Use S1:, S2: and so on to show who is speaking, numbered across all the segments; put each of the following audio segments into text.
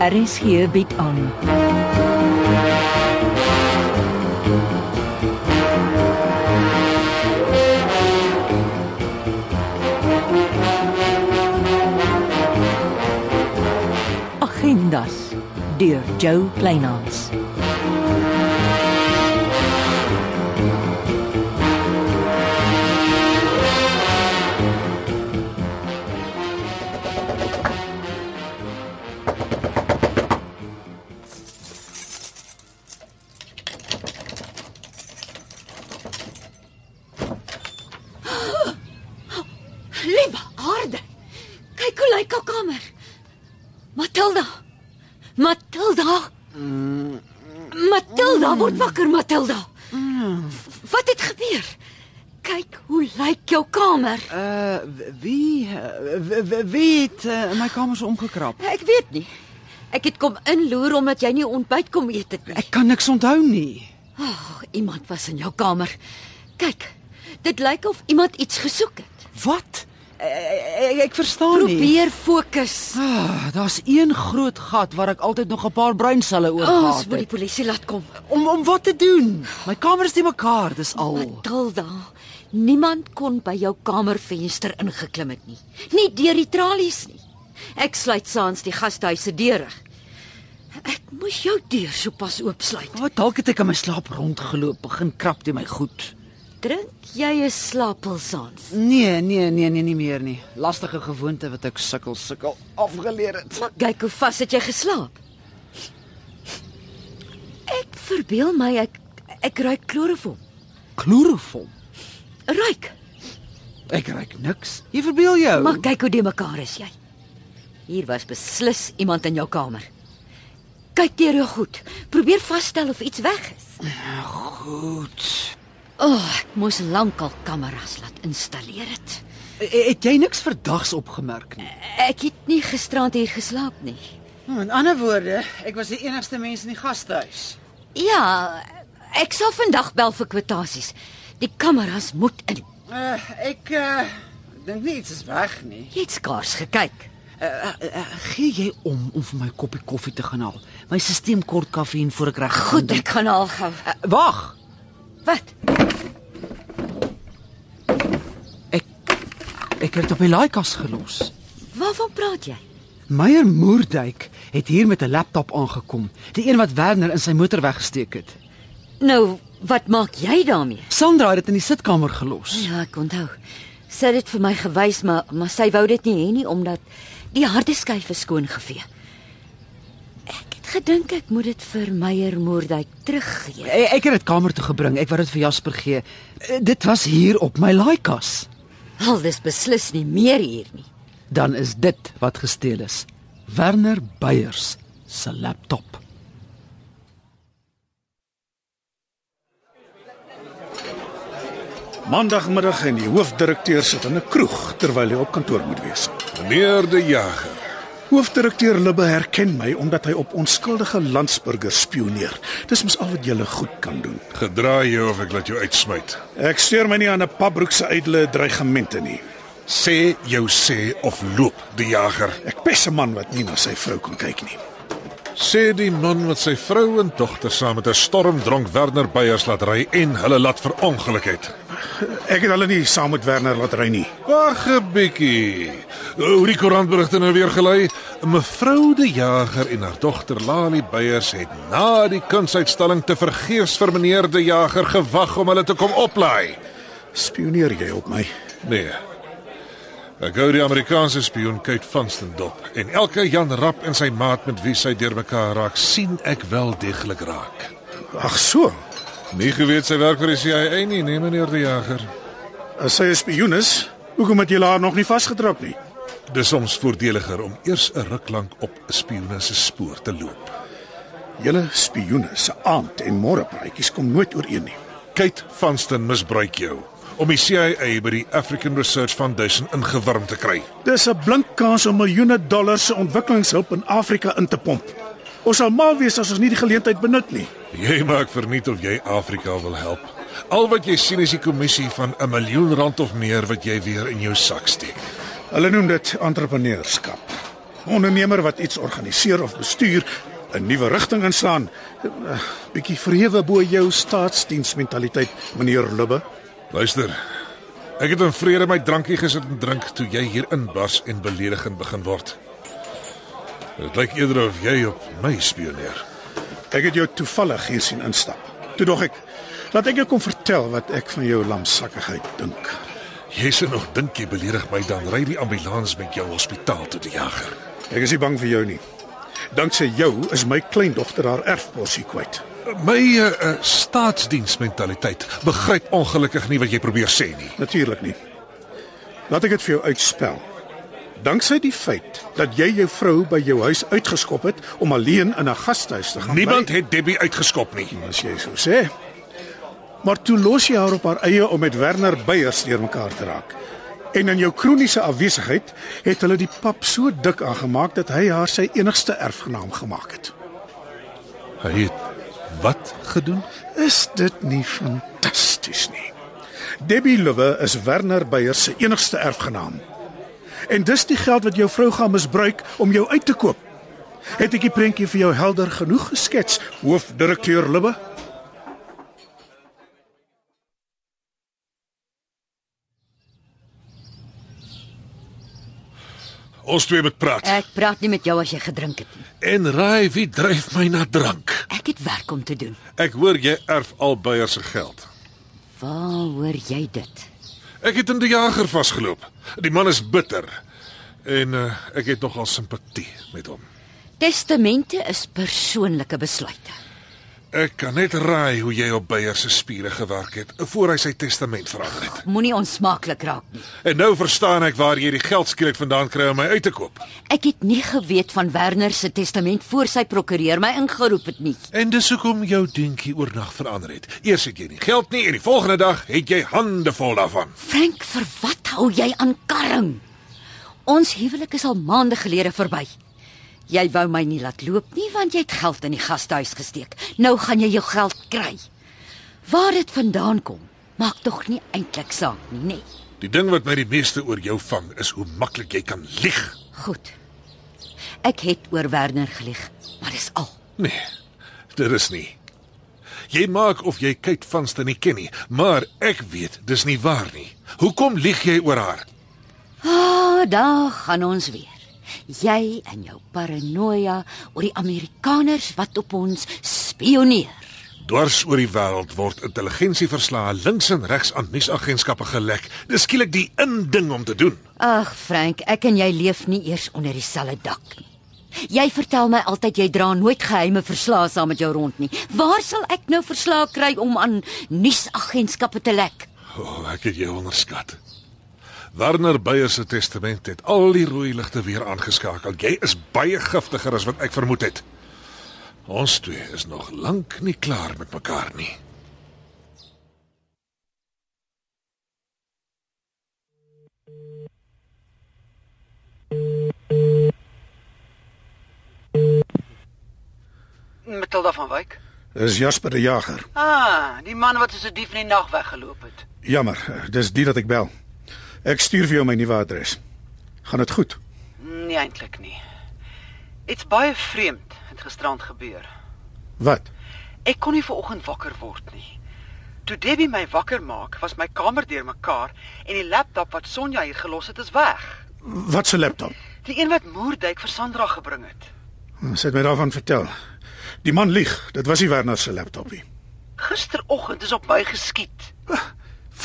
S1: RSG bied aan. Agendas deur Jo Kleinhans.
S2: Liewe aarde. Kyk hoe lyk haar kamer. Matilda. Matilda. Mm. Matilda word wakker, Matilda. W- Wat het gebeur? Kyk hoe lyk jou kamer.
S3: Uh, wie, eh, w- w- wie het eh, in my kamers omgekrap?
S2: Eh, Ek weet nie. Ek het kom inloer omdat jy nie ontbyt kom eet het nie.
S3: Ek kan niks onthou nie.
S2: Ag, iemand was in jou kamer. Kyk. Dit lyk of iemand iets gesoek het.
S3: Wat? Ek, ek
S2: Oh, nee.
S3: verstaan nie.
S2: Probeer fokus.
S3: Ah, daar's een groot gat waar ek altyd nog 'n paar bruinselle oor
S2: Ons
S3: gehad
S2: moet die
S3: het.
S2: polisie laat kom.
S3: Om om wat te doen? My kamer is te mekaar, dis al.
S2: Matilda, niemand kon by jou kamervenster ingeklim het nie. Nie deur die tralies nie. Ek sluit saans die gastehuis se deure. Ek moes jou deur sopas oopsluit.
S3: Wat dalk het ek in my slaap rondgeloop, begin krap teen my goed.
S2: Drink jy 'n slaapel saans?
S3: Nee, nee, nee, nee, nie meer nie. Lastige gewoonte wat ek sukkel sukkel afgeleer het.
S2: Maar kyk hoe vas het jy geslaap. Ek verbeel my ek ek ruik kloroform.
S3: Kloroform.
S2: Ruik.
S3: Ek ruik niks. Jy verbeel jou.
S2: Maar kyk hoe die mekaar is jy. Hier was beslis iemand in jou kamer. Kyk deur jou goed. Probeer vasstel of iets weg is.
S3: goed.
S2: O, oh, ek moes lankal kameras laat installeer het.
S3: E- Het jy niks verdags opgemerk nie?
S2: Ek het nie gisterand hier geslaap nie.
S3: Hmm, In ander woorde, ek was die enigste mens in die gastehuis.
S2: Ja, ek sal vandag bel vir kwotasies. Die kameras moet in.
S3: Uh, ek uh, dink nie iets is weg nie.
S2: Jy het skaars gekyk.
S3: Uh, uh, uh, gee jy om om vir my koppie koffie te gaan haal? My stelsel kort kafeïn voor ek reg
S2: Goed, ek gaan al gou.
S3: Uh, Wag.
S2: Wat?
S3: Ek ek het dit op die laaikas gelos.
S2: Waarvan praat jy?
S3: Meyer Moerdijk het hier met 'n laptop aangekom, die een wat Werner in sy motor weggesteek het.
S2: Nou, wat maak jy daarmee?
S3: Sandra het dit in die sitkamer gelos.
S2: Ja, ek onthou. Sy het dit vir my gewys, maar maar sy wou dit nie hê nie omdat die harde skyf is skoon gevee. Ek het gedink ek moet dit vir Meyer Moorduyk teruggee.
S3: E- Ek het dit kamer toe gebring. Ek wou dit vir Jasper gee. E, Dit was hier op my laaikas.
S2: Al dis beslis nie meer hier nie.
S3: Dan is dit wat gesteel is. Werner Beyers se laptop.
S4: Maandagmiddag en die hoofdirekteur sit in 'n kroeg terwyl hy op kantoor moet wees.
S5: Meneer De Jager,
S4: Hoofdirekteur Libbe herken my omdat hy op onskuldige landsburgers spioneer. Dis mos al wat jy goed kan doen.
S5: gedraai jou of ek laat jou uitsmyt.
S4: Ek steur my nie aan 'n pabroek se ydelle dreigemente nie.
S5: Sê jou sê of loop, De Jager.
S4: Ek pes 'n man wat nie na sy vrou kan kyk nie.
S5: Sê die man wat sy vrou en dogter saam met 'n stormdronk Werner Beyers laat ry en hulle laat verongeluk het.
S4: Ek het hulle nie saam met Werner laat ry nie.
S5: Wag 'n bietjie. Hoe die koerantberigte nou weer gelei? Mevrou De Jager en haar dogter Lali Beyers het na die kunsuitstalling te vergeefs vir meneer De Jager gewag om hulle te kom oplaai.
S4: Spioneer jy op my?
S5: Nee. Ek gou die Amerikaanse spioen Kate Vanston dop en elke Jan Rap en sy maat met wie sy deurmekaar raak, sien ek wel deeglik raak.
S4: Ag so.
S5: Nie geweet sy werk vir die CIA nie, nee meneer die Jager.
S4: As sy 'n spioen is, hoekom het jy haar nog nie vasgetrap nie?
S5: Dis soms voordeliger om eers 'n ruk lank op 'n spioene se spoor te loop.
S4: Julle spioene se aand en môre praatjies kom nooit ooreen nie.
S5: Kate Vanston misbruik jou om die CIA by die African Research Foundation ingewurm te kry.
S4: Dis 'n blink kans om miljoene dollars se ontwikkelingshulp in Afrika in te pomp. Ons sal mal wees as ons nie die geleentheid benut nie.
S5: Jy maak verniet of jy Afrika wil help. Al wat jy sien is die kommissie van 'n miljoen rand of meer wat jy weer in jou sak steek.
S4: Hulle noem dit entrepreneurskap. ondernemer wat iets organiseer of bestuur, 'n nuwe rigting inslaan. Eh, Bietjie verhewe bo jou staatsdiensmentaliteit, meneer Lubbe.
S5: Luister. Ek het in vrede my drankie gesit en drink toe jy hier inbars en beledigend begin word. Dit lyk eerder of jy op my spioneer.
S4: Ek het jou toevallig hier sien instap. Toe dog ek, laat ek jou kom vertel wat ek van jou lamsakkigheid dink.
S5: Jy sê nog dink jy beledig my dan ry die ambulans met jou hospitaal toe die jager.
S4: Ek is nie bang vir jou nie. Danksy jou is my kleindogter haar erfporsie kwyt.
S5: My uh, uh, staatsdiensmentaliteit begryp ongelukkig nie wat jy probeer sê nie.
S4: Natuurlik nie. Laat ek dit vir jou uitspel. Danksy die feit dat jy jou vrou by jou huis uitgeskop het om alleen in 'n gasthuis te gaan.
S5: Niemand
S4: bly,
S5: het Debbie uitgeskop nie.
S4: as jy so sê. Maar toe los jy haar op haar eie om met Werner Beyers deurmekaar te raak. En in jou kroniese afwesigheid het hulle die pap so dik aangemaak dat hy haar sy enigste erfgenaam gemaak het.
S5: Hy het wat gedoen?
S4: Is dit nie fantasties nie? Debbie Lowe is Werner Beyers se enigste erfgenaam. En dis die geld wat jou vrou gaan misbruik om jou uit te koop. Het ek die prentjie vir jou helder genoeg geskets, hoofdirekteur Lowe?
S5: Ons twee moet praat.
S2: Ek praat nie met jou as jy gedrink het nie.
S5: En raai wie dryf my na drank?
S2: Ek het werk om te doen.
S5: Ek hoor jy erf al Beier se geld.
S2: Waar hoor jy dit?
S5: Ek het in die jager vasgeloop. Die man is bitter en uh, ek het nogal simpatie met hom.
S2: Testamente is persoonlike besluite.
S5: Ek kan net raai hoe jy op Beier se spiere gewerk het voor hy sy testament verander het.
S2: Moenie onsmaaklik raak nie.
S5: En nou verstaan ek waar jy die geld skielik vandaan kry om my uit te koop.
S2: Ek het nie geweet van Werner se testament voor sy prokureur my ingeroep het nie.
S5: En dis hoekom jou dingetjie oornag verander het. Eers het jy nie geld nie en die volgende dag het jy hande vol daarvan.
S2: Frank, vir wat hou jy aan karring? Ons huwelik is al maande gelede verby. Jy wou my nie laat loop nie want jy het geld in die gastehuis gesteek. Nou gaan jy jou geld kry. Waar dit vandaan kom, maak tog nie eintlik saak nie, nê? Nee.
S5: Die ding wat my die meeste oor jou vang is hoe maklik jy kan lieg.
S2: Goed. Ek het oor Werner gelieg, maar dis al.
S5: Nee, dit is nie. Jy maak of jy kyk vanste nie ken nie, maar ek weet dis nie waar nie. Hoekom lieg jy oor haar?
S2: Ah, daar gaan ons weer. Jy en jou paranoia oor die Amerikaners wat op ons spioneer.
S5: Dwars oor die wêreld word intelligensieverslae links en regs aan nuusagentskappe gelek. Dis skielik die in ding om te doen.
S2: Ag Frank, ek en jy leef nie eers onder dieselfde dak nie. Jy vertel my altyd jy dra nooit geheime verslae saam met jou rond nie. Waar sal ek nou verslae kry om aan nuusagentskappe te lek?
S5: O, oh, ek het jou onderskat. Werner Beyer se testament het al die rooi ligte weer aangeskakel. Jy is baie giftiger as wat ek vermoed het. Ons twee is nog lank nie klaar met mekaar nie.
S6: Matilda van Wyk.
S4: Dis Jasper die Jager.
S6: Ah, die man wat as 'n dief in die nag weggeloop het.
S4: Jammer, dis die dat ek bel. Ek stuur vir jou my nuwe adres. Gaan dit goed?
S6: Nee eintlik nie. Dit's baie vreemd het gisterand gebeur.
S4: Wat?
S6: Ek kon nie vanoggend wakker word nie. Toe Debbie my wakker maak, was my kamer deurmekaar en die laptop wat Sonja hier gelos het is weg.
S4: Wat se laptop?
S6: Die een wat Moerdijk vir Sandra gebring het.
S4: Sy het my daarvan vertel. Die man lieg. Dit was nie Werner se laptop nie.
S6: Gisteroggend is op my geskiet.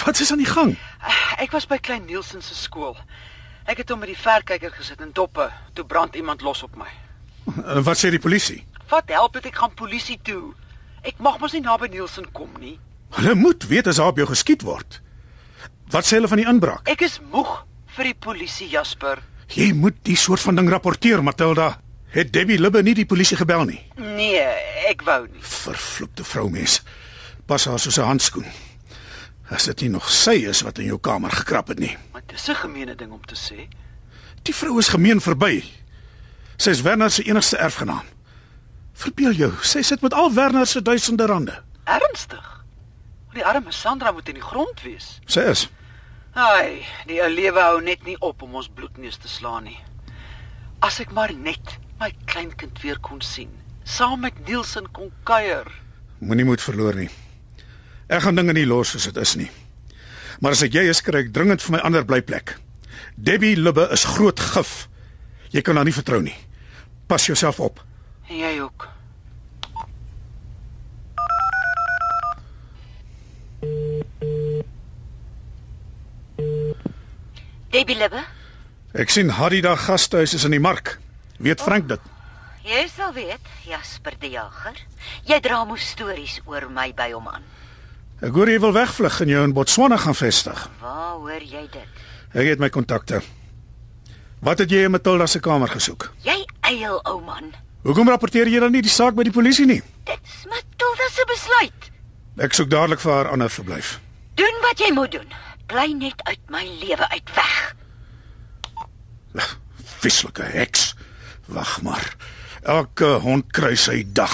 S4: Wat is aan die gang?
S6: Ah, Ek was by Klein Nielsen se skool. Ek het hom met die verkyker gesit in doppe, toe brand iemand los op my.
S4: En Wat sê die polisie?
S6: Wat help dit ek gaan polisie toe? Ek mag mos nie naby Nielsen kom nie.
S4: Hulle moet weet as daar op jou geskiet word. Wat sê hulle van die inbraak?
S6: Ek is moeg vir die polisie Jasper.
S4: Jy moet die soort van ding rapporteer, Matilda. Het Debbie Libbe nie die polisie gebel nie?
S6: Nee, ek wou nie.
S4: Vervloekte vroumens. Pas haar soos 'n handskoen. As dit nie nog sy is wat in jou kamer gekrap het nie.
S6: Maar dis 'n gemeene ding om te sê.
S4: Die vrou is gemeen verby. Sy is Werner se enigste erfgenaam. Verbeel jou, sy sit met al Werner se duisende rande.
S6: Ernstig. Die arme Sandra moet in die grond wees.
S4: Sy is.
S6: Ai, die ou lewe hou net nie op om ons bloedneus te slaan nie. As ek maar net my kleinkind weer kon sien, saam met Nielsen kon kuier.
S4: Moenie moed verloor nie. Ek gaan dinge nie los soos dit is nie. Maar as ek jy is, kry ek dringend vir my ander blyplek. Debbie Lubbe is groot gif. Jy kan haar nie vertrou nie. Pas jouself op.
S6: En jy ook.
S7: Debbie Libbe,
S4: Ek sien Hadida gasthuis is in die mark. Weet Frank dit?
S7: jy sal weet, Jasper die Jager. Jy dra mos stories oor my by hom aan.
S4: Ek hoor jy wil wegvlug en jou in Botswana gaan vestig.
S7: Waar hoor jy dit?
S4: Ek het my kontakte. Wat het jy in Matilda se kamer gesoek?
S7: Jy eil ou man.
S4: Hoekom rapporteer jy dan nie die saak by die polisie nie?
S7: Dit's Matilda se besluit.
S4: Ek soek dadelik vir haar ander verblyf.
S7: Doen wat jy moet doen. Bly net uit my lewe uit weg.
S4: Vieslike heks. Wag maar. Elke hond kry sy dag.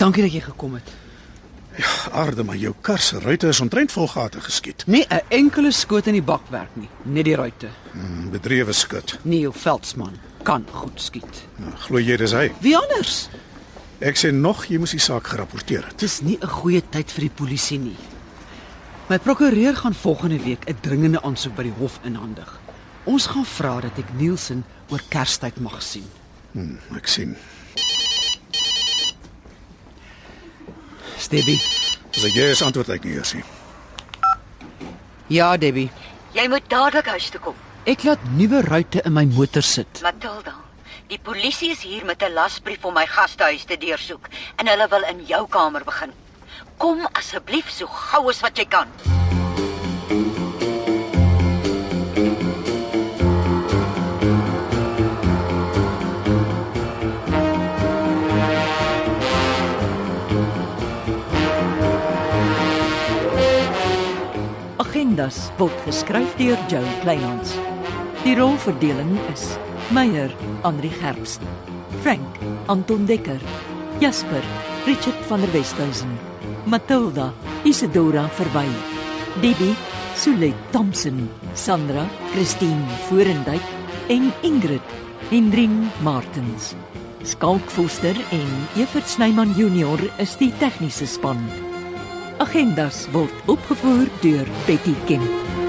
S3: Dankie dat jy gekom het.
S4: Aarde maar jou kar se ruitte is omtrent vol gate geskiet.
S3: Nie 'n enkele skoot in die bakwerk nie, net die ruitte.
S4: Hmm, Bedrewe skud.
S3: Nee, jou veldsman kan goed skiet.
S4: Nou, Glo jy dis hy?
S3: Wie anders?
S4: Ek sê nog jy moes die saak gerapporteer het.
S3: Dis nie 'n goeie tyd vir die polisie nie. My prokureur gaan volgende week 'n dringende aansoek by die hof inhandig. Ons gaan vra dat ek Nielsen oor Kerstyd mag sien.
S4: Hmm, ek sien.
S3: Debbie.
S4: As ek jy is antwoord ek nie eers nie.
S3: Ja, Debbie.
S7: Jy moet dadelik huis toe kom.
S3: Ek laat nuwe ruitte in my motor sit.
S7: Matilda, die polisie is hier met 'n lasbrief om my gastehuis te deursoek en hulle wil in jou kamer begin. Kom asseblief so gou as wat jy kan.
S1: Agendas word geskryf deur Jo Kleinhans. Die rolverdeling is: Meyer, Henri Gerst, Frank, Anton Dekker, Jasper, Richard van der Westhuizen, Matilda, Isidora Verwy, Debbie, Sulet Thompson, Sandra, Christine Forendyk en Ingrid Hendrin Martens. Skalk Foster en Evert Snyman Junior is die tegniese span. Agendas word opgevoer deur Betty Kemp.